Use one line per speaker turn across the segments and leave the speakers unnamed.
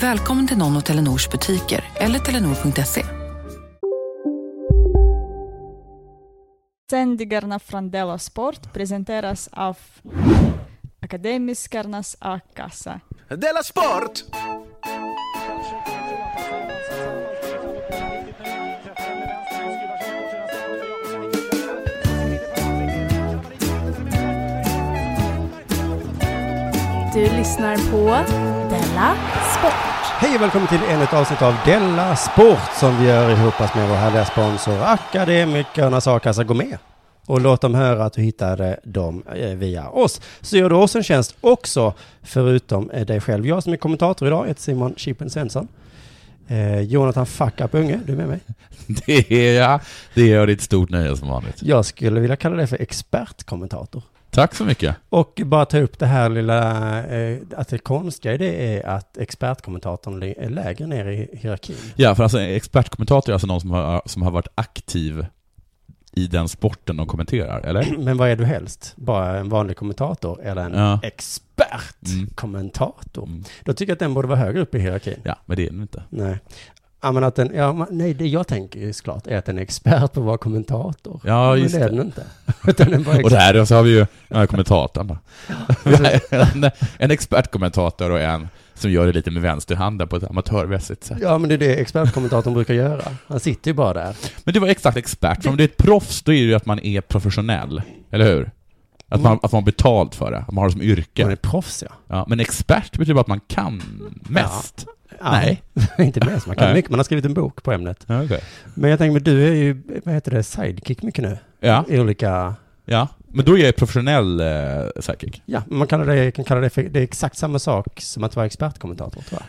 Välkommen till någon av Telenors butiker eller telenor.se.
Sändningarna från Della Sport presenteras av Akademiskarnas A-kassa.
Della Sport!
Du lyssnar på Della Sport.
Hej och välkommen till ännu ett avsnitt av Della Sport som vi gör ihop med vår härliga sponsor Akademikernas A-kassa. Gå med och låt dem höra att du hittade dem eh, via oss. Så gör du oss en tjänst också, förutom eh, dig själv. Jag som är kommentator idag heter Simon Chippen Svensson. Eh, Jonathan Fuckup Unge, du är med mig.
Det är jag. Det är ett stort nöje som vanligt.
Jag skulle vilja kalla dig för expertkommentator.
Tack så mycket.
Och bara ta upp det här lilla, eh, att det konstiga i det är att expertkommentatorn är lägre ner i hierarkin.
Ja, för alltså en expertkommentator är alltså någon som har, som har varit aktiv i den sporten de kommenterar, eller?
Men vad är du helst? Bara en vanlig kommentator eller en
Ja.
expertkommentator?
Mm.
Då tycker jag att den borde vara högre upp i hierarkin.
Ja, men det är den inte.
Nej. Ja, men att den, ja, men- nej, det jag tänker ju såklart är att den är expert på att vara kommentator.
Ja, just
men det är
det.
den inte. Utan den är bara
Och
expert.
där så har vi ju ja, kommentatorn då. Vi har en, en expertkommentator och en som gör det lite med vänsterhanden på ett amatörmässigt sätt.
Ja, men det är det expertkommentatorn brukar göra. Han sitter ju bara där.
Men det var exakt expert. För om du är ett proffs, då är det ju att man är professionell. Eller hur? Att man, att man har betalt för det. Att man har det som
Han är
yrke.
proffs, Mm. ja.
Ja, men expert betyder bara att man kan mest.
ja.
Nej.
inte mest. Man kan
Nej.
mycket. Man har skrivit en bok på ämnet.
Ja, okej.
Men jag tänker, men du är ju, vad heter det, sidekick mycket nu?
Ja,
I olika...
ja. Men då är jag professionell eh, sidekick.
Ja, man kallar det, kan kalla det för, det är exakt samma sak som att vara expertkommentator, tror jag.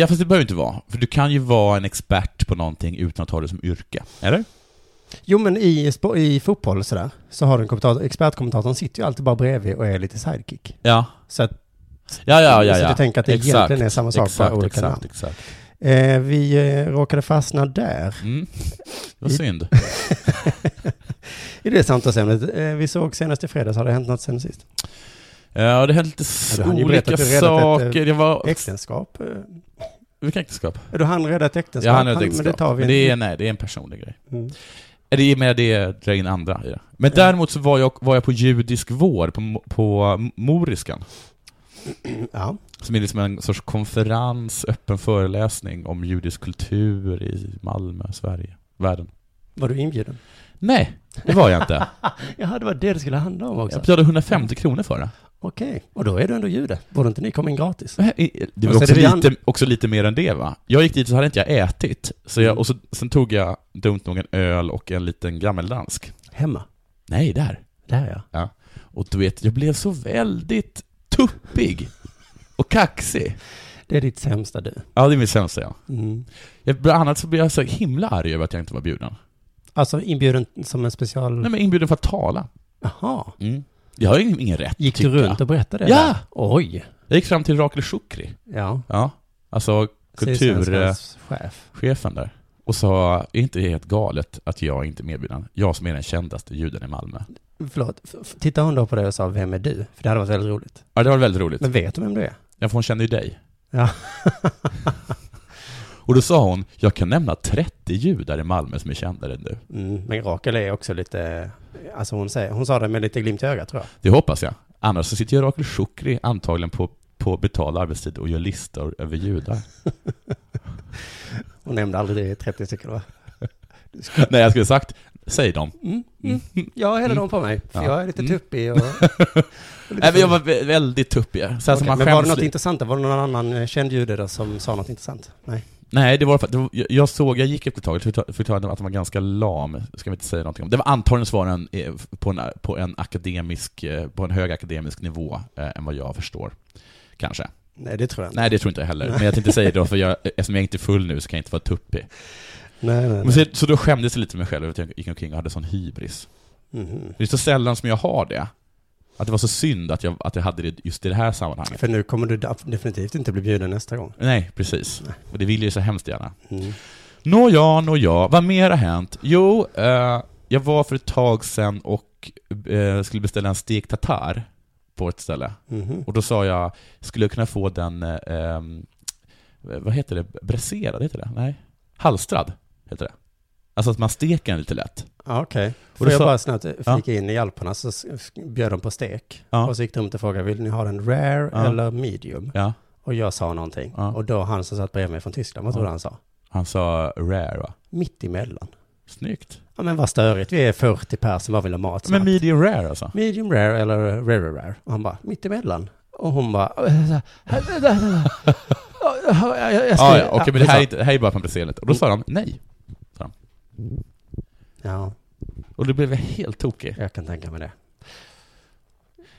Ja, fast det behöver inte vara. För du kan ju vara en expert på någonting utan att ha det som yrke. Eller?
Jo, men i, spo- i fotboll och sådär, så har du en kommentator, expertkommentatorn sitter ju alltid bara bredvid och är lite sidekick.
Ja.
Så att,
Ja, ja, ja.
Så
ja.
du tänker att det egentligen är samma sak,
exakt,
bara olika
exakt,
namn.
Exakt,
eh, vi eh, råkade fastna där.
Mm. Vad synd.
I det samtalsämnet, eh, vi såg senast i fredags, har det hänt något sen sist?
Ja, det hände lite
du hann ju berätta
olika
att du redan ett, eh,
saker. Det var...
Äktenskap? eh,
Vilka äktenskap?
Du hann rädda ett äktenskap?
Ja, han är ett äktenskap.
Men det tar vi
det är,
inte.
nej, det är en personlig grej.
Mm.
Eller i och med det drar in andra i det. Men däremot så var jag, var jag på judisk vård, på, på Moriskan.
Ja.
Som är liksom en sorts konferens, öppen föreläsning om judisk kultur i Malmö, Sverige, världen.
Var du inbjuden?
Nej, det var jag inte.
Jaha, det var det det skulle handla om också.
Jag betalade 150 kronor för det.
Okej, och då är du ändå jude. Borde inte ni komma in gratis?
Eh,
Och
Det var
så
också
är det det
lite, också lite mer än det va? Jag gick dit så hade inte jag ätit. Så jag,
Mm.
och så, sen tog jag dumt nog en öl och en liten gammeldansk.
Hemma?
Nej, där.
Där ja.
Och du vet, jag blev så väldigt tuppig och kaxig.
Det är ditt sämsta du.
Ja, det är min sämsta ja.
Mm.
Jag, bland annat så blev jag så himla arg över att jag inte var bjuden.
Alltså inbjuden som en special...
Nej, men inbjuden för att tala.
Jaha.
Mm. Jag har ingen, ingen rätt,
Gick du
tycker jag.
runt och berättade det?
Ja!
där? Oj!
Jag gick fram till Rakel Shukri,
Ja.
ja. alltså kulturchefen
Sydsvenskans chef.
där, och sa, är inte det helt galet att jag inte är medbjuden? Jag som är den kändaste juden i Malmö.
Förlåt, f- f- tittade hon då på dig och sa vem är du? För det hade varit väldigt roligt.
Ja, det var väldigt roligt.
Men vet du vem du är?
Ja, för hon känner ju dig.
Ja.
Och då sa hon, jag kan nämna 30 judar i Malmö som är kändare än du.
Mm, men Rakel är också lite, alltså hon, säger, hon sa det med lite glimt i ögat tror jag.
Det hoppas jag. Annars så sitter jag Rakel Shukri antagligen på, på betald arbetstid och gör listor över judar.
Hon nämnde aldrig det i 30 sekunder va?
Nej, jag skulle sagt, säg dem.
Mm, mm. Jag häller dem på mig, för
Ja.
jag är lite
Mm.
tuppig och...
Nej, men jag var vä- väldigt tuppig. Så här som
Okej,
man
men var det
skäms
något
lite.
intressant? där? Var det någon annan eh, känd jude då som sa något intressant? Nej.
Nej, det var, det var jag- jag såg, jag gick efter ett tag, jag förklarade- förklarade att han var ganska lam, ska vi inte säga någonting om. Det var antagligen svaren eh, på en, på en akademisk, eh, på en hög akademisk nivå eh, än vad jag förstår. Kanske.
Nej, det tror jag inte.
Nej, det tror inte jag heller. Men jag tänkte säga det då, för jag, eftersom jag inte är full nu så kan jag inte vara tuppig.
Nej, nej,
Men
nej.
så, så då skämdes jag lite för mig själv, att jag gick omkring och hade sån hybris.
Mhm.
Det är så sällan som jag har det. Att det var så synd att jag, att jag hade det just i det här sammanhanget.
För nu kommer du def- definitivt inte bli bjuden nästa gång.
Nej, precis. Och det vill jag ju så hemskt gärna.
Mm.
Nåja, nåja. Vad mer har hänt? Jo, eh, jag var för ett tag sedan och eh, skulle beställa en stekt tatar på ett ställe.
Mhm.
Och då sa jag, skulle jag kunna få den, eh, ehm, vad heter det, bräserad, heter det? Nej, halstrad heter det. Alltså att man steker den lite lätt.
Ja, Okej. Får
då
jag
sa-
bara snabbt eh,
Ja.
flika in i Alperna så s- s- bjöd de på stek.
Ja.
Och så gick de runt och frågade, vill ni ha den rare
Ja.
eller medium?
Ja,
Och jag sa någonting.
Ja.
Och då han som satt bredvid mig från Tyskland, vad tror du han sa?
han sa rare va?
Mitt emellan.
Snyggt.
Ja men vad störigt, vi är 40 personer, vad vill ha mat?
Men
snabbt?
medium rare alltså?
medium rare eller rare rare. Och han bara, mitt emellan. Och hon bara... Jag
Ah, Ja, ja, okej, men det här, är inte- det här är bara att man bräserar lite. Och då sa de nej.
Ja,
Och då blev jag helt tokig.
jag kan tänka mig det.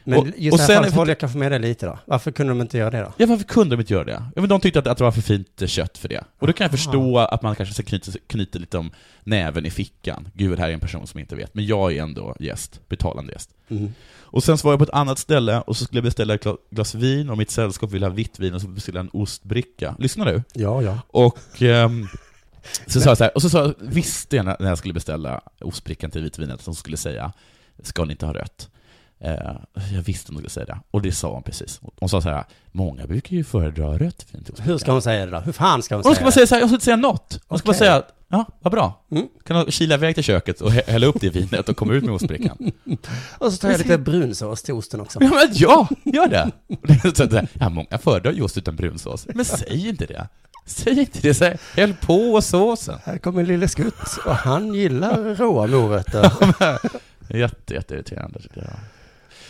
Men
Och-
just i
och
det här
sen-
fallet håller jag kanske med dig lite då. Varför kunde de inte göra det då?
Ja, varför kunde de inte göra det? Ja, men de tyckte att, att det var för fint eh, kött för det. Och då kan jag förstå att man kanske ska knyta, knyta lite om näven i fickan. Gud, här är en person som inte vet. Men jag är ändå gäst, betalande gäst.
Mm.
Och sen så var jag på ett annat ställe och så skulle jag beställa ett gla- glas vin och mitt sällskap ville ha vitt vin och så beställde jag en ostbricka. Lyssna nu.
Ja, ja.
Och ehm, så sa jag så här, och så sa jag, visste jag när när jag skulle beställa ostbrickan till vitvinet att de skulle säga ”Ska ni inte ha rött?” Eh, Jag visste att de skulle säga det, och det sa hon precis. Hon sa så här, många brukar ju föredra rött vin till ostbrickan.
Hur ska hon säga det då? Hur fan ska hon,
Hon ska
säga
bara
det?
säga så här, jag ska inte säga något. Hon ska bara
Okej.
säga att, ja, vad bra.
Mm.
Kan du kila iväg till köket och hä- hälla upp det i vinet och komma ut med ostbrickan?
Och så tar jag lite brunsås till osten också.
Ja, men ja, gör det! Och det är så där, Ja, många föredrar ju ost utan brunsås. Men säg inte det. Säg inte det, säg, häll på såsen.
Här kommer lille Skutt och han gillar råa morötter.
Jätte, jätteirriterande tycker jag.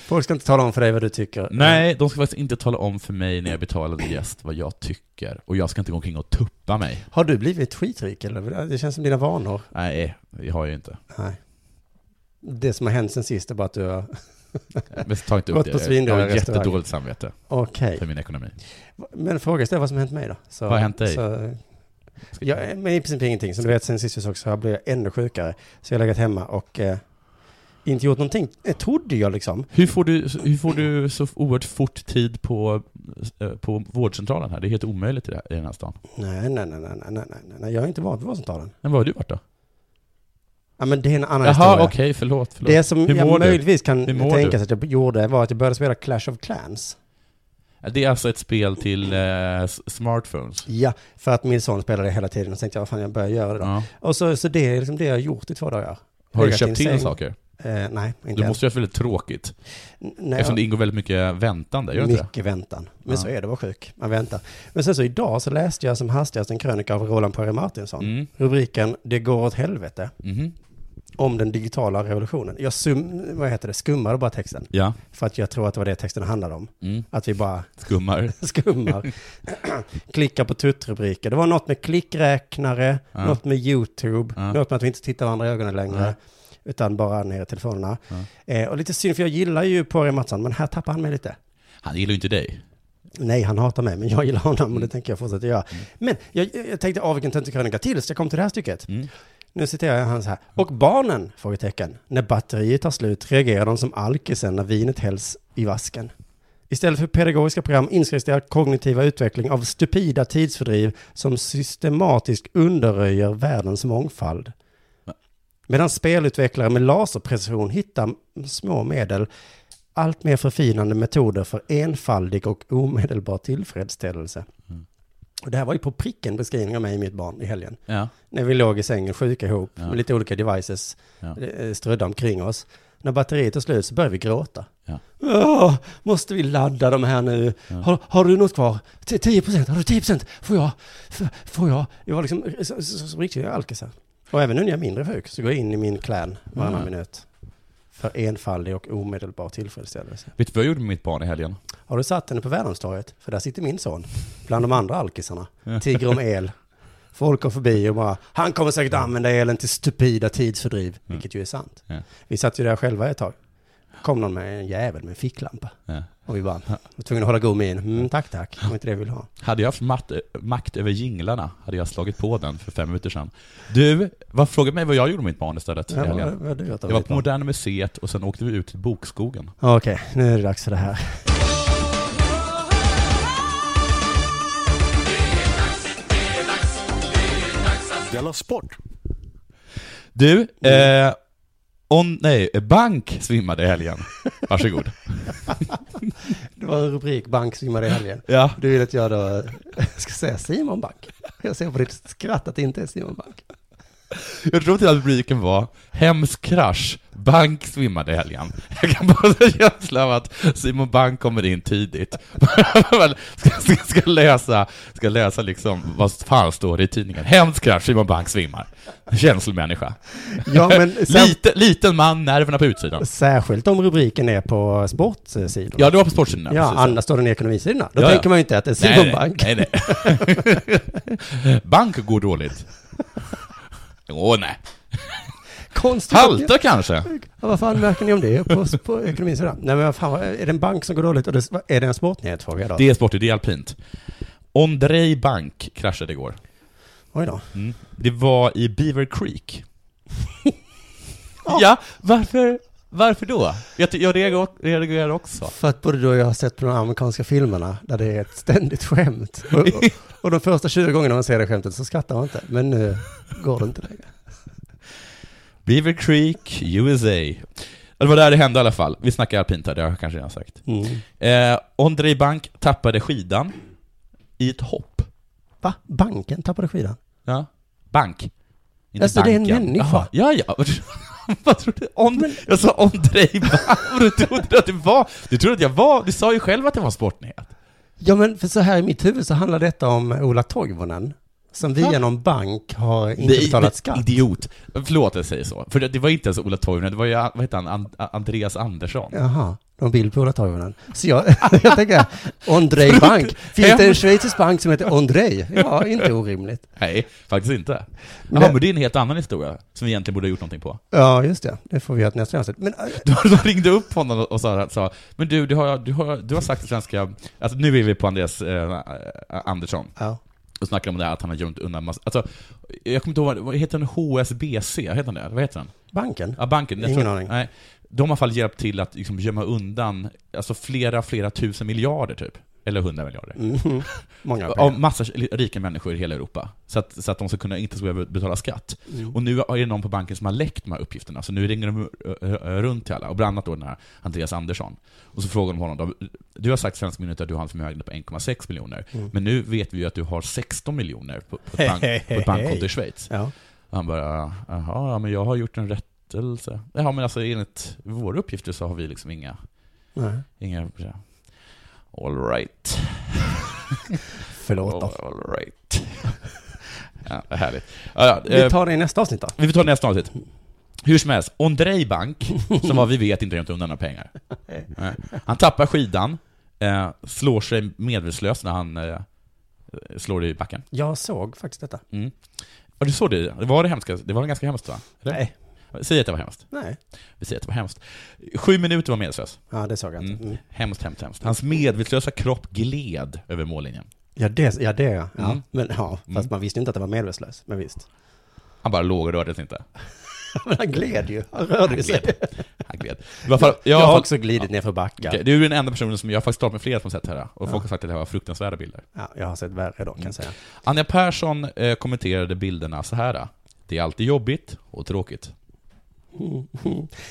Folk ska inte tala om för dig vad du tycker. Eh,
Nej, de ska faktiskt inte tala om för mig när jag betalade gäst vad jag tycker. Och jag ska inte gå omkring och tuppa mig.
Har du blivit skitrik eller? Det känns som dina vanor.
Nej, det har jag ju inte.
Nej. Det som har hänt sen sist är bara att du har...
Men ta inte upp
Gått
det.
på svindel
jag har
i restaurang.
jättedåligt samvete
Okej.
för min ekonomi.
Men fråga istället vad som har hänt mig då. Så,
Vad har hänt dig?
Så, jag, men i princip ingenting. Som du vet sen sist vi såg så blev jag ännu sjukare. Så jag har legat hemma och eh, inte gjort någonting. Eh, trodde jag liksom.
Hur får, du, hur får du så oerhört fort tid på, eh, på vårdcentralen här? Det är helt omöjligt i det här- i den här stan.
Nej, nej, nej, nej, nej, nej, nej, nej. Jag är inte van vid vårdcentralen.
Men var har du varit då?
Ja, men det är en annan
Jaha,
historia.
okej, förlåt, förlåt.
Det som
Hur mår
jag
du?
möjligtvis kan
Hur mår
tänka
du?
sig att jag gjorde var att jag började spela Clash of Clans.
Det är alltså ett spel till eh, s- smartphones?
Ja, för att min son spelade hela tiden och så tänkte jag, vad fan jag börjar göra det då.
Ja.
Och så, så det är liksom det jag har gjort i två dagar.
Har du
Legat i en
köpt in
säng.
saker?
Eh, nej, inte
Du
än.
måste ju ha haft väldigt tråkigt,
N- nej,
eftersom det ingår väldigt mycket väntande, gör det inte det?
Mycket väntan. Men
Ja.
så är det, var sjuk. Man väntar. Men sen så idag så läste jag som hastigast en krönika av Roland Poirier Martinsson.
Mm.
Rubriken Det går åt helvete
Mhm.
om den digitala revolutionen. Jag sum, vad heter det, skummade bara texten.
Ja.
För att jag tror att det var det texten handlade om.
Mm.
Att vi bara
Skummar.
skummar. Klickar på tuttrubriker. Det var något med klickräknare,
Ja.
något med YouTube,
Ja.
något med att vi inte tittar varandra i ögonen längre.
Nej.
Utan bara ner i telefonerna. Eh, och lite synd, för jag gillar ju Poirier Mattsson, men här tappar han mig lite.
Han gillar ju inte dig.
Nej, han hatar mig, men jag gillar honom och det tänker jag fortsätta göra. Men jag, jag jag tänkte, av vilken töntig krönika till, så jag kom till det här stycket. Nu citerar jag han så här. Och barnen? Frågetecken. När batteriet tar slut reagerar de som alkisen när vinet hälls i vasken. Istället för pedagogiska program inskränks deras kognitiva utveckling av stupida tidsfördriv som systematiskt underröjer världens mångfald. Medan spelutvecklare med laserprecision hittar små medel allt mer förfinande metoder för enfaldig och omedelbar tillfredsställelse. Och det här var ju på pricken beskrivning av mig och mitt barn i helgen.
Ja.
När vi låg i sängen sjuka ihop
Ja.
med lite olika devices
Ja.
eh, strödda omkring oss. När batteriet är slut så börjar vi gråta.
Ja.
Åh, måste vi ladda de här nu? Har, har du något kvar? T- eh, 10 procent? Har du 10 procent? Får jag? F- får jag? Jag var liksom så, så, så, så riktigt alkisar. Och även nu när jag är mindre sjuk så går jag in i min clan varannan minut. För enfaldig och omedelbar tillfredsställelse.
Vet du vad jag gjorde med mitt barn i helgen?
Har du satt henne på Värmlandstorget? För där sitter min son, bland de andra alkisarna. Tigger om el. Folk går förbi och bara, han kommer säkert använda elen till stupida tidsfördriv, vilket ju är sant.
Mm. Ja.
Vi satt ju där själva ett tag. Kom någon med en jävel med en ficklampa.
Ja.
Och vi bara, var tvungna att hålla god min. Mm, tack, tack. Det var inte det vi ville ha.
Hade jag haft mat, makt över jinglarna hade jag slagit på den för fem minuter sedan. Du, vad, fråga mig vad jag gjorde med mitt barn istället i
Ja, vad-
helgen.
vad har du gjort av
Jag var
ditt
på
barn?
Moderna Museet och sen åkte vi ut till Bokskogen.
Okej, nu är det dags för det här.
Della Sport.
Du,
Mm.
eh, om, nej, bank svimmade i helgen. Varsågod.
Det var en rubrik, Bank svimmade i helgen.
ja.
Du vill att jag då ska säga Simon Bank? Jag ser på ditt skratt att det inte är Simon Bank.
Jag tror till att rubriken var Hemsk krasch, bank svimmade i helgen. Jag kan bara ha en känsla av att Simon Bank kommer in tidigt. ska, ska, ska läsa, ska läsa liksom vad fan står det i tidningen. Hemsk krasch, Simon Bank svimmar. Känslomänniska.
Ja, men sen,
Lite, liten man, nerverna på utsidan.
särskilt om rubriken är på sportsidorna.
Ja, det var på sportsidan.
Ja, annars står den i ekonomisidorna. Då
Ja, ja.
tänker man ju inte att det är Simon
nej,
Bank.
Nej, nej. bank går dåligt. Åh, nej.
Konstigt.
Halter kanske?
Ja, vad fan märker ni om det på, på ekonomisidan? Nej, men vad fan, vad- är det en bank som går dåligt? Och det, vad- är det en sportnyhet frågar jag då?
Det är sportigt, det är alpint. Ondrej Bank kraschade igår. Mm.
Oj då.
Det var i Beaver Creek. ja, varför, varför då? Jag, ty- jag reagerar- reagerar också.
För att både du och jag har sett på de amerikanska filmerna där det är ett ständigt skämt. Och, och, och de första 20 gångerna man ser det skämtet så skrattar man inte. Men nu går det inte längre.
Beaver Creek, USA. Det var där det hände i alla fall. Vi snackar alpint här, det har jag kanske redan sagt.
Mm.
Eh, Ondrej Bank tappade skidan i ett hopp.
Va? Banken tappade skidan?
Ja. Bank. Inte
Alltså, det är en människa.
Jaha, Ja, ja. Vad trodde du? Om, Jag sa Ondrej Bank. Du trodde att det var... Du trodde att jag var... Du sa ju själv att det var en sportnyhet.
Ja, men för så här i mitt huvud så handlar detta om Ola Toivonen. Som via någon bank har inte
Nej,
betalat
men
skatt.
Idiot. Förlåt jag säger så. För det, det var inte ens Ola Toivonen, det var ju, vad heter han, And- Andreas Andersson.
Jaha, de bild på Ola Toivonen. Så jag, jag tänker, Ondrej Bank. Finns det en schweizisk bank som heter Ondrej? Ja, inte orimligt.
Nej, faktiskt inte.
Men-
Jaha, men det är en helt annan historia, som vi egentligen borde ha gjort någonting på.
Ja, just det. Det får vi göra till nästa avsnitt. Men, äh,
Då de ringde upp honom och sa, sa men du, du har, du, har, du har sagt till svenska, alltså nu är vi på Andreas eh, Andersson,
ja.
och snackar om det här att han har gömt undan massa, alltså, jag kommer inte ihåg, vad- vad heter den HSBC? Heter den det? Vad heter den?
Banken?
Ja, banken. jag
Ingen
tror-
aning.
Nej, de har i alla fall hjälpt till att liksom gömma undan alltså flera, flera tusen miljarder typ. Eller hundra miljarder.
Mhm. Många
Av
pengar.
massa rika människor i hela Europa. Så att, så att de ska kunna, inte ska behöva betala skatt.
Mm.
Och nu är det någon på banken som har läckt de här uppgifterna, så nu ringer de eh, eh, runt till alla. Och bland annat då den här Andreas Andersson. Och så frågar de honom då, du har sagt till svenska myndigheter att du har en förmögenhet på 1,6 miljoner.
Mm.
Men nu vet vi ju att du har 16 miljoner på, på, ett, bank, på ett bankkonto i Schweiz.
Ja.
Och han bara, jaha, ja, men jag har gjort en rättelse. Ja, men alltså enligt våra uppgifter så har vi liksom inga...
Nej.
inga all right.
Förlåt då.
All right. ja, vad härligt. Ja, ja, eh,
Vi tar det i nästa avsnitt då.
vi får ta nästa avsnitt. Hur som helst, Ondrej Bank, som vad vi vet inte gömt undan några pengar. Nej. Han tappar skidan, eh, slår sig medvetslös när han eh, slår i backen.
Jag såg faktiskt detta.
Mm. Ja, du såg det? Det var det hemska, det var ganska hemskt va? Eller?
Nej.
Säg att det var hemskt.
Nej.
Vi säger att det var hemskt. Sju minuter var medvetslös.
Ja, det såg jag inte. Mm.
Mm. Hemskt, hemskt, hemskt. Hans medvetslösa kropp gled över mållinjen.
Ja, det, ja, det ja. ja.
Mm.
Men ja, fast
Mm.
man visste ju inte att det var medvetslös. Men visst.
Han bara låg och rörde sig inte.
Men han gled ju. Han rörde sig.
Han gled. I alla fall, jag,
Jag har
har
också glidit ner för backar.
Okej, du är den enda personen som jag har faktiskt talat med flera som sett det här. Och folk har sagt att det här var fruktansvärda bilder.
Ja, jag har sett värre då, kan
Mm.
jag säga.
Anja Persson eh, kommenterade bilderna så här. eh, Det är alltid jobbigt och tråkigt.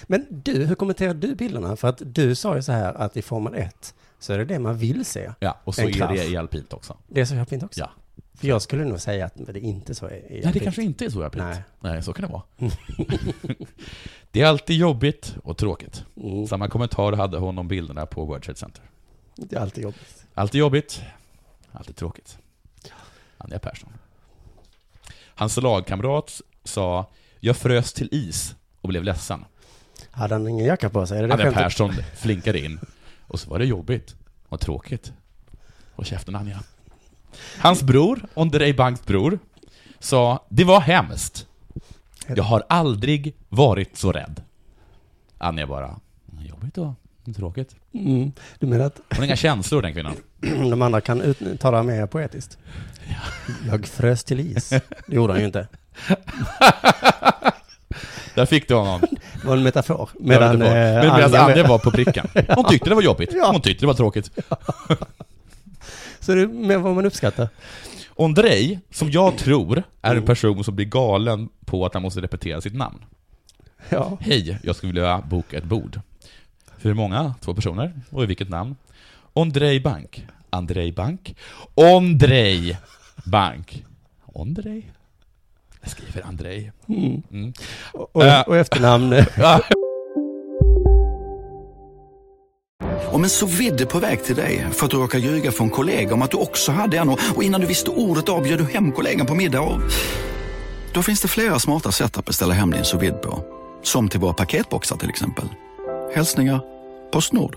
Men du, hur kommenterar du bilderna? För att du sa ju så här att i Formel 1 så är det det man vill se.
Ja, och så
En
är
krasch.
det i alpint också.
Det är så fint också.
Ja.
För jag skulle nog säga att det inte så är. är
Nej, det kanske inte är så i alpint.
Nej.
Nej. Mm. så kan det vara. det är alltid jobbigt och tråkigt.
Mm.
Samma kommentar hade hon om bilderna på World Trade Center.
Det är alltid jobbigt.
Alltid jobbigt, alltid tråkigt. Anja Persson. Hans lagkamrat sa “Jag frös till is och blev ledsen”.
Hade han ingen jacka på sig? Är det det
Anna
skämtet?
Persson flinkade in. Och så var det jobbigt. Och tråkigt. Håll käften Anja. Hans bror, Onderej Banks bror, sa “Det var hemskt. Jag har aldrig varit så rädd”. Anja bara "Mm, “Jobbigt då. Tråkigt.
Mm. Du menar att
Hon har inga känslor den kvinnan.
de andra kan uttala mer poetiskt? Jag frös till is. Det gjorde han ju inte.
Där fick du honom.
Det var en metafor.
Medan,
Medan,
medan,
eh,
medan
Anja-
Anja var på brickan. Hon tyckte det var jobbigt.
Ja.
Hon tyckte det var tråkigt.
Så det är mer vad man uppskattar.
Ondrej, som jag tror är en person som blir galen på att han måste repetera sitt namn.
Ja.
Hej, jag skulle vilja boka ett bord. Hur många? Två personer. Och i vilket namn? Ondrej Bank. Andrej Bank. Ondrej Bank. Ondrej? Jag skriver Andrej. Mm.
Och, och, och efternamn. eh,
Om en så vidde på väg till dig för att du råkar ljuga från kollega om att du också hade en och och innan du visste ordet av bjöd du hem kollegan på middag och... Då finns det flera smarta sätt att beställa hem din sous vide på. Som till våra paketboxar till exempel. Hälsningar Postnord.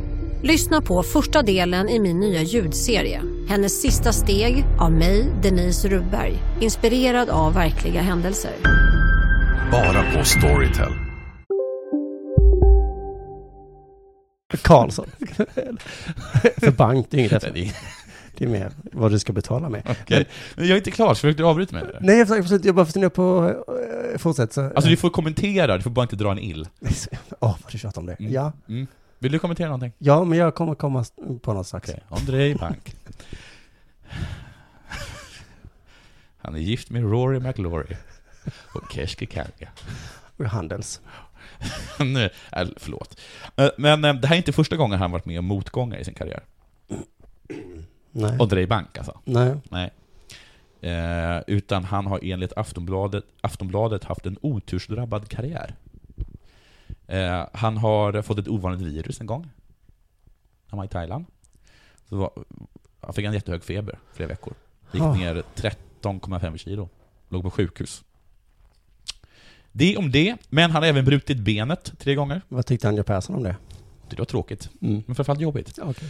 Lyssna på första delen i min nya ljudserie. Hennes sista steg av mig, Denise Rubberg. Inspirerad av verkliga händelser.
Bara på Storytel.
Karlsson. För bank, det är inget
Nej, det
efternamn. Det är mer vad du ska betala med.
Okej. Men jag är inte klar, så försökte du avbryta mig?
Nej, jag försöker- absolut, jag bara funderar på... eh, Fortsätt så...
Alltså du får kommentera, du får bara inte dra en ill.
Åh, vad du tjatar om det.
Mm.
Ja.
Mm. Vill du kommentera någonting?
ja, men jag kommer komma s- på något strax.
Andrej Bank. Han är gift med Rory McLaury och Keshki Kanga.
Och Handels.
Nu- äh, Förlåt. Eh, Men eh, det här är inte första gången han varit med om motgångar i sin karriär.
Nej.
Andrej Bank alltså.
Nej.
Nej. Eh, utan han har enligt Aftonbladet, Aftonbladet haft en otursdrabbad karriär. Eh, han har fått ett ovanligt virus en gång. Han var i Thailand. Så var, han fick en jättehög feber flera veckor. Gick
Ah.
ner 13,5 kilo. Låg på sjukhus. Det om det, men han har även brutit benet tre gånger.
Vad tyckte Anja Persson om det?
Det var tråkigt,
Mm.
men framförallt jobbigt.
Okej.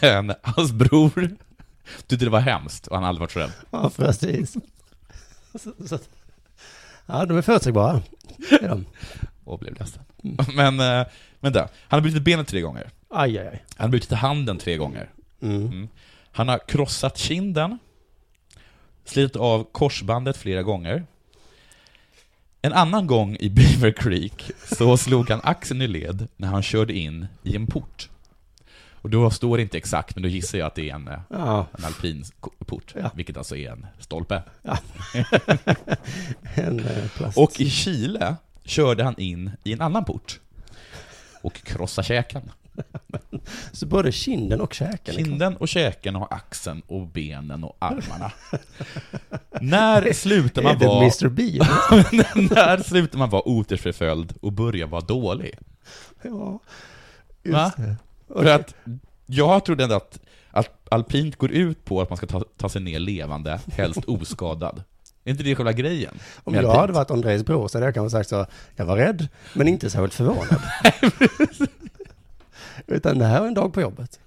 Men hans bror tyckte det var hemskt och han hade aldrig varit så rädd.
Ja, precis. Så, så. Ja, de är förutsägbara. Det är de.
och blev ledsen. Men, eh, vänta. Han har brutit benet tre gånger.
Aj, aj, aj.
Han har brutit handen tre gånger.
Mm.
Han har krossat kinden. Slitit av korsbandet flera gånger. En annan gång i Beaver Creek så slog han axeln i led när han körde in i en port. Och då står det inte exakt, men då gissar jag att det är en, eh,
Ja.
en alpin ko- port,
Ja.
vilket alltså är en stolpe.
En eh, plast.
Och i Chile körde han in i en annan port och krossade käken.
Så både kinden och käken. är liksom- kvar.
Kinden och käken och axeln och benen och armarna. när slutar
Är
man
det
vara...
Mr. Bean?
när slutar man vara otursförföljd och börjar vara dålig?
ja.
Va?
Just det.
För att jag trodde ändå att, att alpint går ut på att man ska ta, ta sig ner levande, helst oskadad. Är inte det själva grejen?
Om
med
jag
alpint?
hade varit Andrejs bror så hade jag kanske sagt så, jag var rädd, men inte särskilt förvånad. Utan det här var en dag på jobbet.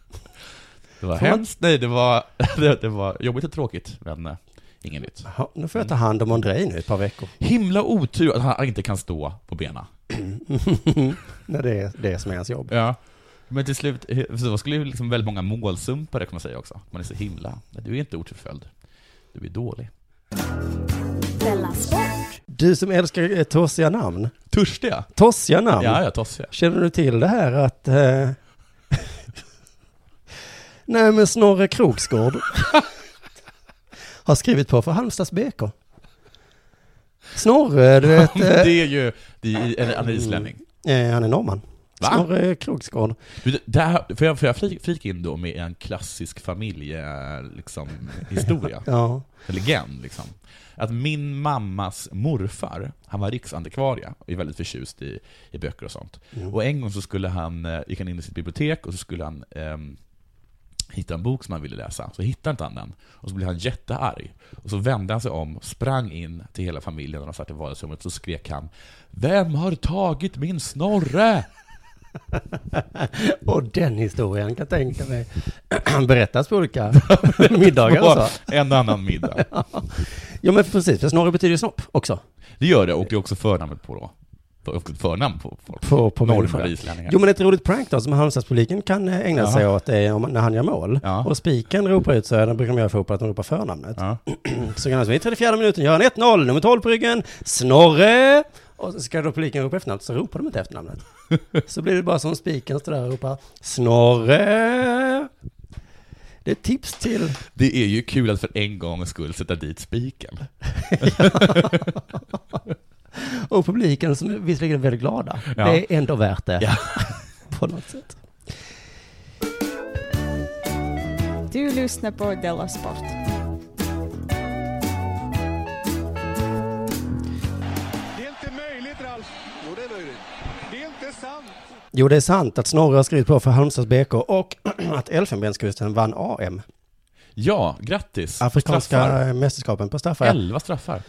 Det var
Får man-
hemskt, nej det var, det, det var jobbigt och tråkigt, men eh, inget nytt.
Ja, nu får jag ta hand om Andrej nu i ett par veckor.
Himla otur att han inte kan stå på benen.
När det är det som är hans jobb.
Ja. Men till slut, så vad skulle ju liksom väldigt många målsumpare kunna säga också. Man är så himla, nej, du är inte otursförföljd. Du är dålig.
Della Sport.
Du som älskar eh, tossiga namn.
Törstiga?
Tossiga namn.
Ja, ja, tossiga.
Känner du till det här att... Eh... Nej, men Snorre Kroksgård har skrivit på för Halmstads BK. Snorre, du vet. eh,
det är ju det är en, en islänning.
eh, han är norrman.
Va?
Snorre Krogsgård.
Du, Där, får jag, får jag flika, flika in då med en klassisk familjehistoria? Liksom, historia?
Ja.
En legend liksom. Att min mammas morfar, han var riksantikvarie och är väldigt förtjust i, i böcker och sånt.
Mm.
Och en gång så skulle han, eh, gick han in i sitt bibliotek och så skulle han ehm, hitta en bok som han ville läsa. Så hittade inte han den. Och så blev han jättearg. Och så vände han sig om, sprang in till hela familjen när de satt i vardagsrummet, så skrek han Vem har tagit min Snorre?
Och den historien kan jag tänka mig. Han berättas på olika middagar och så.
En annan middag.
Ja men precis, för Snorre betyder ju snopp också.
Det gör det, och det är också förnamnet på då. Och förnamn på folk.
På, på
Norrmän
människor.
och islänningar.
Jo men ett roligt prank då som Halmstadspubliken kan eh, ägna
Jaha.
sig åt är om, när han gör mål och spiken ropar ut så här, det brukar de göra för opera, att de ropar förnamnet. så kan han så i 34 minuten göra en 1-0, nummer 12 på ryggen, Snorre! Och så ska då publiken ropa efternamnet, så ropar de inte efternamnet. så blir det bara som spiken står där och ropar Snorre! Det är ett tips till...
Det är ju kul att för en gångs skull sätta dit spiken.
och publiken som visserligen är väldigt glada.
Ja.
Det är ändå värt det.
Ja.
på något sätt.
Du lyssnar på Della Sport.
Jo, det är sant att Snorre har skrivit på för Halmstads BK och att Elfenbenskusten vann AM.
Ja, grattis.
Afrikanska eh,
Straffar.
mästerskapen på straffar.
Elva straffar.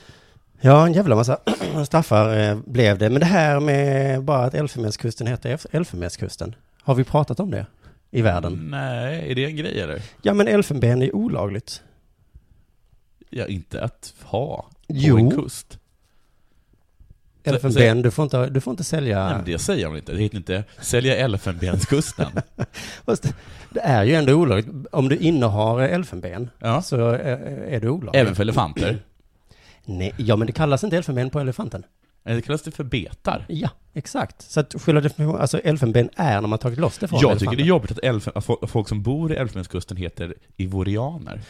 Ja, en jävla massa straffar eh, blev det. Men det här med bara att Elfenbenskusten heter Elf- Elfenbenskusten. Har vi pratat om det i
Mm.
världen?
Nej, är det en grej eller?
Ja, men elfenben är olagligt.
Ja, inte att ha på
Jo.
en kust.
Elfenben, du får inte, du får inte sälja.
Nej, men det säger man inte. Det heter inte sälja elfenbenskusten.
Fast det är ju ändå olagligt. Om du innehar elfenben
Ja.
så eh, är det olagligt.
Även för elefanter.
Nej, ja men det kallas inte elfenben på elefanten.
Eller Det kallas det för betar.
Ja, exakt. Så att själva definitionen, alltså elfenben är när man tagit loss det från
Jag tycker det är jobbigt att, elfen, att fo- folk som bor i Elfenbenskusten heter ivorianer.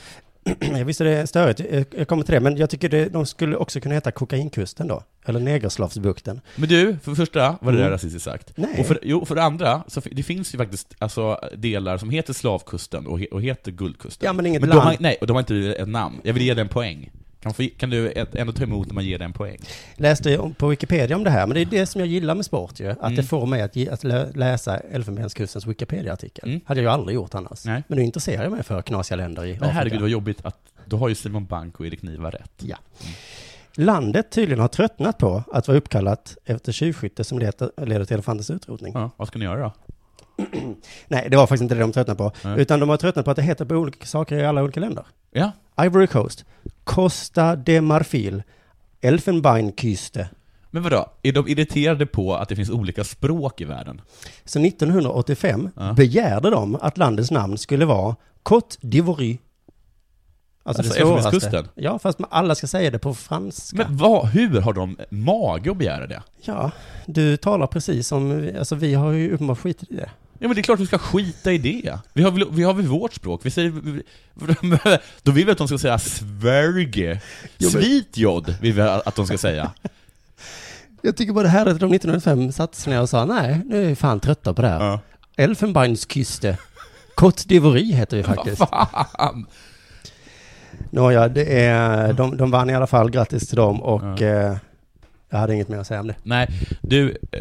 Jag visste det är störigt, Jag- jag kommer till det, men jag tycker det, de skulle också kunna heta kokainkusten då, eller negerslavsbukten.
Men du, för det första var det där
Mm.
rasistiskt sagt.
Nej.
Och för, jo, för det andra, så fi- det finns ju faktiskt alltså, delar som heter slavkusten och, he, och heter guldkusten.
Ja, men inget
de
land.
har, nej, och de har inte ett namn. Jag vill ge dig en poäng. Kan, få, kan du ett- ändå ta emot när man ger dig en poäng?
Läste ju om- på Wikipedia om det här, men det är det som jag gillar med sport ju, att
Mm.
det får mig att, ge- att lä- läsa Elfenbenskustens Wikipedia-artikel.
Mm.
Hade jag ju aldrig gjort annars.
Nej.
Men nu intresserar jag mig för knasiga länder i
Men
Afrika.
herregud vad jobbigt att då har ju Simon Bank och Erik Niva rätt.
Ja. Landet tydligen har tröttnat på att vara uppkallat efter tjuvskytte som leder, leder till elefantens utrotning.
Ja, vad ska ni göra då?
Nej, det var faktiskt inte det de tröttnade på.
Nej.
Utan de har tröttnat på att det heter på olika saker i alla olika länder.
Ja.
Ivory Coast, Costa de Marfil, Elfenbeinküste.
Men vadå, är de irriterade på att det finns olika språk i världen?
Så 1985 begärde de att landets namn skulle vara Côte d'Ivoire. Alltså,
Alltså
det svåraste.
Elfenbenskusten?
Ja, fast man- alla ska säga det på franska.
Men vad, hur har de mage att begära det?
Ja, du talar precis som, alltså vi har ju uppenbart skitit i det.
Ja men det är klart vi ska skita i det. Vi har väl, vi har väl vårt språk, vi säger... vi- vi- Då vill vi att de ska säga Sverige.
Jo, men-
Svitjod vill vi att de ska säga.
Jag tycker bara det här att de 1905 satte sig ner och sa nej, nu är vi fan trötta på det här. Elfenbeinskyste. Côte d'Ivoire heter vi faktiskt.
Fan!
Nåja, det är, de, de vann i alla fall, grattis till dem och eh, jag hade inget mer att säga om det.
Nej, du, eh,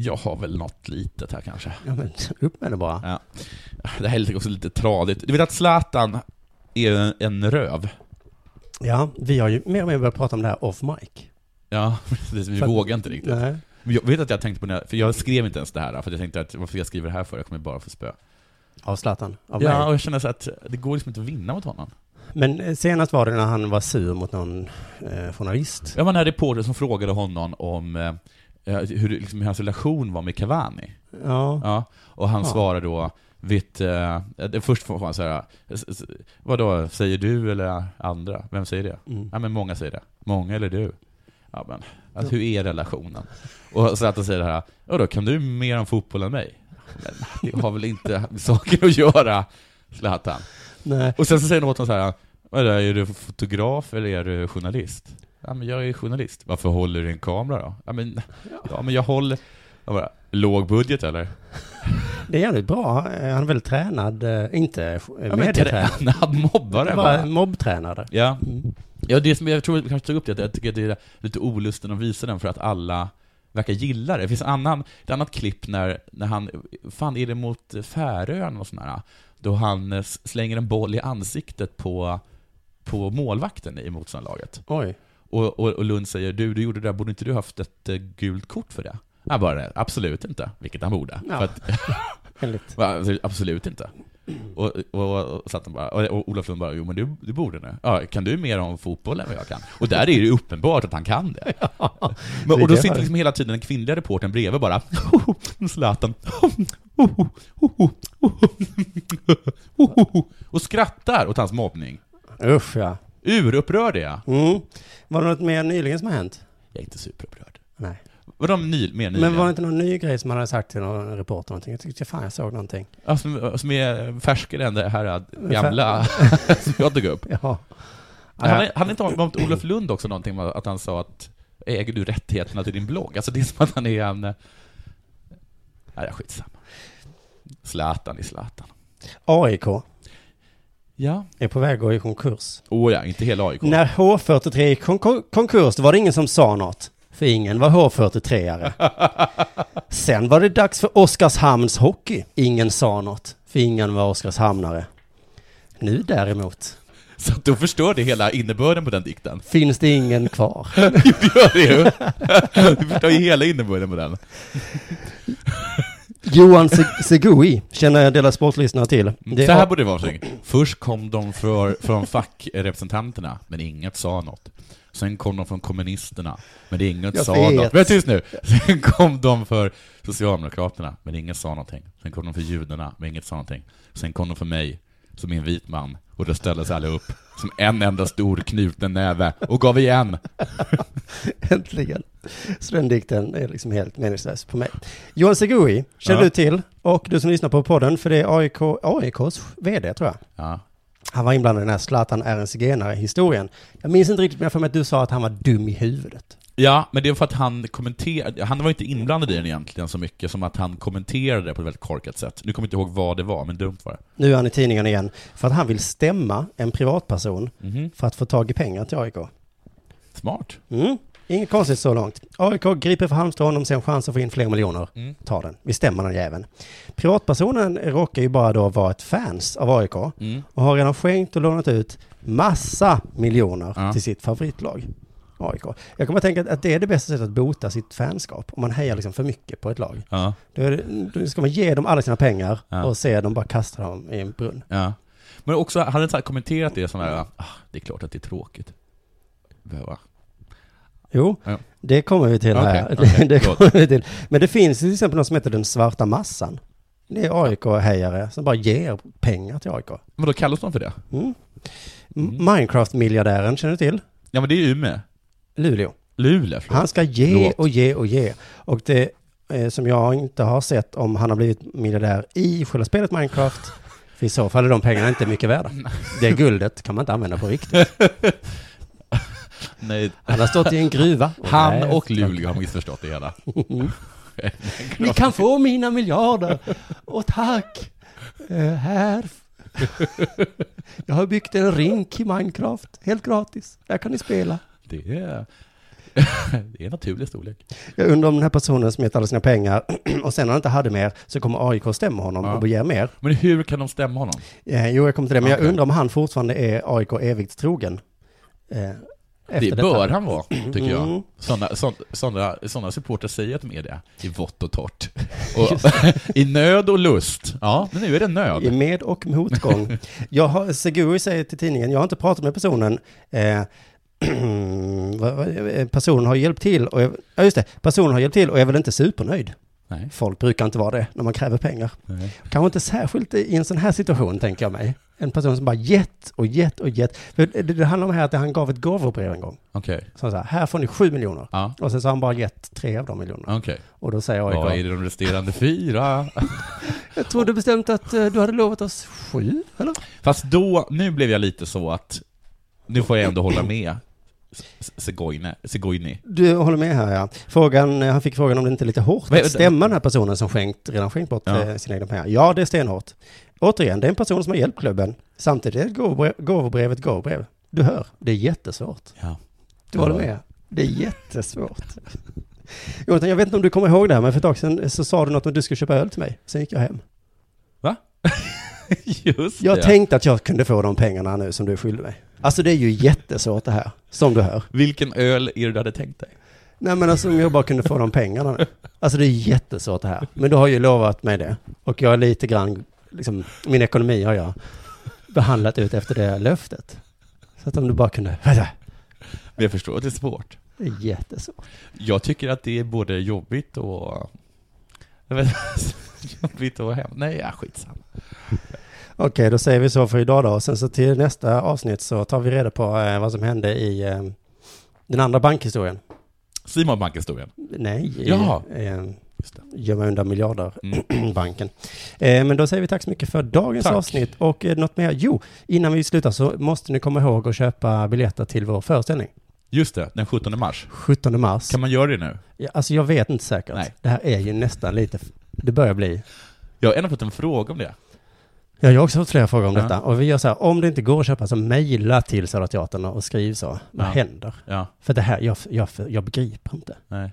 jag har väl något litet här kanske.
Ja, men upp med det bara.
Ja. Det här är också lite tradigt. Du vet att Zlatan är en, en röv?
Ja, vi har ju mer och mer börjat prata om det här off mic.
Ja, precis. Vi
För att-
vågar inte riktigt.
Nej.
Men Jag vet att jag tänkte på det här, för jag skrev inte ens det här, för jag tänkte att varför jag skriver det här för, jag kommer bara få spö.
Av Zlatan, av
Ja,
mig.
och jag känner så att det går liksom inte att vinna mot honom.
Men eh, senast var det när han var sur mot någon eh, journalist.
Jag var den här reportern som frågade honom om eh, eh, hur liksom, hur hans relation var med Cavani.
Ja.
och han
Ja.
svarar då, vet, eh, det- först får han säga vad då säger du eller andra? Vem säger det?
Mm.
Ja men många säger det. Många eller du? Ja men, alltså, hur är relationen? Och så att han säger det här, ja då kan du mer om fotboll än mig? Men det har väl inte med saker att göra, Zlatan?
Nej.
Och sen så säger någon åt honom så här, vad är det, är du fotograf eller är du journalist? Ja, men jag är journalist. Varför håller du i en kamera då? Ja, men, ja, men jag håller... Jag bara, låg budget eller?
Det är jävligt bra. Eh, Han är väldigt tränad, eh, inte
Ja,
ja,
men tränad mobbare bara.
bara. Mobbtränare.
Ja. ja, det som jag tror jag kanske tog upp det, att jag tycker att det är lite olusten att visa den för att alla verkar gilla det. Det finns en annan, ett annat klipp när, när han, fan är det mot Färöarna och sådär, då han eh, slänger en boll i ansiktet på, på målvakten i motståndarlaget.
Oj.
Och, och, och Lund säger, du, du gjorde det där, borde inte du haft ett eh, gult kort för det? Han bara, absolut inte, vilket han borde.
Ja.
För att,
Väldigt.
Va, alltså, Absolut inte. Och, och, och, och, satt han bara, och, och Olof Lund bara, jo men du, du borde nu. Ja, kan du mer om fotboll än vad jag kan? Och där är det ju uppenbart att han kan det. men, och då
det
sitter
var-
liksom hela tiden den kvinnliga reportern bredvid bara, Zlatan, och skrattar åt hans mobbning.
Usch ja.
Urupprörd är jag.
Mm. Var det något mer nyligen som har hänt?
Jag är inte superupprörd.
Nej.
Var de ny, mer nyligen?
Men var det inte någon ny grej som man hade sagt till någon reporter någonting? Jag tyckte fan jag såg någonting.
Ja, som, som är färskare än det här gamla som jag tog upp.
Ja.
Men Han, han inte om om Olof Lund också någonting, med att han sa att äger du rättigheterna till din blogg? Alltså det är som att han är en... eh, Nej, skitsamma. Zlatan i Zlatan.
AIK.
Ja.
Är på väg att gå i konkurs.
Åh ja, inte hela AIK.
När H43 gick kon- konkurs, då var det ingen som sa något. För ingen var H43-are. Sen var det dags för Oskarshamns hockey. Ingen sa något, för ingen var Oskarshamnare. Nu däremot
Så att då förstör det hela innebörden på den dikten.
finns det ingen kvar.
Jo, det gör det ju. Du förstör ju hela innebörden på den.
Johan Se- Segui känner Dela Sport-lyssnare till.
Mm. Så
är-
här borde det vara. försäkring. Först kom de för, från fackrepresentanterna, men inget sa något. Sen kom de från kommunisterna, men det inget
Jag
sa
vet.
något. Men tyst nu! Sen kom de för Socialdemokraterna, men ingen sa någonting. Sen kom de för judarna, men inget sa någonting. Sen kom de för mig, som är en vit man, och då ställdes alla upp som en enda stor knuten näve och gav igen.
Äntligen. Så den dikten är liksom helt meningslös på mig. Johan Segui känner
Ja.
du till och du som lyssnar på podden, för det är AIK, AIKs vd tror jag.
Ja.
Han var inblandad i den här Zlatan är en zigenare-historien. Jag minns inte riktigt, men jag har för mig att du sa att han var dum i huvudet.
Ja, men det är för att han kommenterade, han var inte inblandad i den egentligen så mycket som att han kommenterade det på ett väldigt korkat sätt. Nu kommer jag inte ihåg vad det var, men dumt var det.
Nu är han i tidningen igen för att han vill stämma en privatperson
Mhm.
för att få tag i pengar till AIK.
Smart.
Mm. Inget konstigt så långt. AIK griper för Halmstad honom, sen chans att få in fler miljoner.
Mm.
Ta den. Vi stämmer den jäveln. Privatpersonen råkar ju bara då vara ett fans av AIK
Mm.
och har redan skänkt och lånat ut massa miljoner
Ja.
till sitt favoritlag. AIK. Jag kommer att tänka att- att det är det bästa sättet att bota sitt fanskap. Om man hejar liksom för mycket på ett lag.
Ja.
Då, är det, då ska man ge dem alla sina pengar
Ja.
och se dem bara kasta dem i en brunn.
Ja. Men också, han hade så här kommenterat det som här, ah, det är klart att det är tråkigt. Behöva.
Jo,
Ja.
det kommer vi till här.
Okej, okej,
det
gott.
kommer vi till. Men det finns ju till exempel något som heter den svarta massan. Det är AIK-hejare som bara ger pengar till AIK.
Men då kallas de för det?
Mm. M- Minecraft-miljardären känner du till?
Ja men det är ju Umeå.
Luleå.
Luleå, förlåt.
Han ska ge
Förlåt.
och ge och ge. Och det eh, som jag inte har sett om han har blivit miljardär i själva spelet Minecraft, för i så fall är de pengarna inte mycket värda. Det guldet kan man inte använda på riktigt.
Nej.
Han har stått i en gruva.
Han
Nej.
och Luleå har missförstått det hela.
Mm. Ni kan få mina miljarder. Och tack. Eh, här. Jag har byggt en rink i Minecraft. Helt gratis. Där kan ni spela.
Det är, det är naturlig storlek.
Jag undrar om den här personen smet alla sina pengar och sen när han inte hade mer så kommer AIK stämma honom
Ja.
och begär mer.
Men hur kan de stämma honom?
Eh, jo, jag kommer till det. Men
Okej.
jag undrar om han fortfarande är AIK evigt trogen. Eh,
det
efter
bör
detta.
han vara, tycker jag.
Mm.
Sådana, sådana, sådana, sådana supportrar säger att de är det, i vått och torrt. Och, I nöd och lust. Ja, men nu är det
I
nöd.
med och motgång. jag har, Seguri säger till tidningen, jag har inte pratat med personen. Eh, vad- vad- eh, personen har hjälpt till och jag, ja just det, personen har hjälpt till och jag är väl inte supernöjd.
Nej.
Folk brukar inte vara det när man kräver pengar.
Nej.
Kanske inte särskilt i en sån här situation, tänker jag mig. En person som bara gett och gett och gett. För det, det handlar om här att han gav ett gåvobrev en gång.
Okej.
Så han sa, här får ni sju miljoner.
Ja.
Och sen så har han bara gett tre av de miljonerna.
Okej.
Och då säger
Vad är
AIK,
det de resterande fyra?
jag trodde bestämt att eh, du hade lovat oss sju, eller?
Fast då, nu blev jag lite så att, nu får jag ändå hålla med Segoine, Segoini.
Du håller med här ja. Frågan, eh, han fick frågan om det inte är lite hårt
Vad-
att stämma den här personen som skänkt, redan skänkt bort
Ja.
eh, sina egna pengar. Ja, det är stenhårt. Återigen, det är en person som har hjälpt klubben. Samtidigt är ett gåvobrev, gåvobrev ett gåvobrev. Du hör, det är jättesvårt.
Ja.
Du håller med? Det är jättesvårt. Jonathan, jag vet inte om du kommer ihåg det här, men för ett tag sedan eh, så sa du något om att du skulle köpa öl till mig. Sen gick jag hem.
Va? Just
Jag
det.
tänkte att jag kunde få de pengarna nu som du skyllde mig. Alltså det är ju jättesvårt det här, som du hör.
Vilken öl är det du hade tänkt dig?
Nej men alltså om jag bara kunde få de pengarna nu. Alltså det är jättesvårt det här. Men du har ju lovat mig det. Och jag är lite grann, liksom, min ekonomi har jag behandlat ut efter det löftet. Så att om du bara kunde,
Men jag förstår att det är svårt.
det är jättesvårt.
Jag tycker att det är både jobbigt och... Jag vet, jobbigt och hem. Nej, ja, skitsamma.
Okej, då säger vi så för idag då. Och sen så till nästa avsnitt så tar vi reda på eh, vad som hände i eh, den andra bankhistorien.
Simon Bank-historien.
Nej, i,
Jaha.
eh, gömma undan miljarder-banken. Eh, men då säger vi tack så mycket för dagens
Mm. Tack.
avsnitt. Och eh, något mer? Jo, innan vi slutar så måste ni komma ihåg att köpa biljetter till vår föreställning.
Just det, den 17 mars.
17 mars.
Kan man göra det nu?
Ja, Alltså jag vet inte säkert.
Nej.
Det här är ju nästan lite... f- Det börjar bli...
Jag har ändå fått en fråga om det.
Ja, jag har också fått flera frågor om
Ja.
detta. Och vi gör så här, om det inte går att köpa så mejla till Södra Teatern och skriv så. Vad
Ja.
händer?
Ja.
För det här, jag, jag, jag begriper inte.
Nej.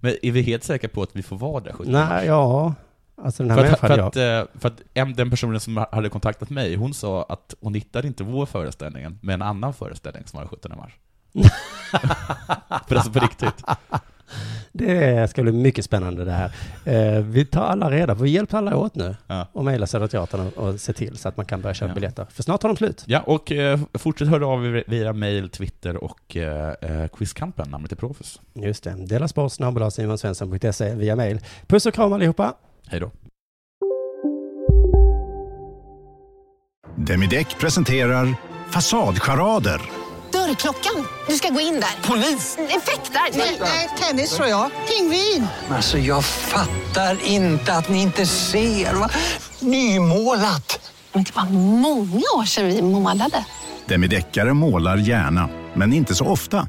Men är vi helt säkra på att vi får vara där 17 mars?
Nej, ja. Alltså den här
för, att,
människan,
för,
jag...
att, eh, för att en- den personen som hade kontaktat mig, hon sa att hon hittade inte vår föreställning, men en annan föreställning som var den 17 mars. för alltså på riktigt.
Det ska bli mycket spännande det här. Eh, vi tar alla reda på, vi hjälper alla åt nu. Och mejlar Södra Teatern och, och se till så att man kan börja köpa
Ja.
biljetter. För snart har de slut.
Ja, och eh, fortsätt höra av er via mail, Twitter och eh, eh, Quizkampen, namnet är Profus.
Just det. Dela sport snabel-a simonsvensson.se via mejl. Puss och kram allihopa.
Hej då.
Demideck presenterar Fasadcharader.
Dörrklockan. Du ska gå in där. Polis? Effektar? Nej, nej, tennis tror jag. Pingvin.
Alltså jag fattar inte att ni inte ser. Va? Nymålat!
Men det var många år sedan vi målade.
Demideckare målar gärna, men inte så ofta.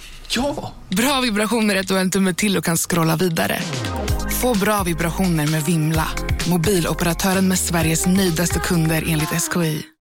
Ja! Bra vibrationer är att du har en tumme till och kan scrolla vidare. Få bra vibrationer med Vimla. Mobiloperatören med Sveriges nöjdaste kunder enligt SKI.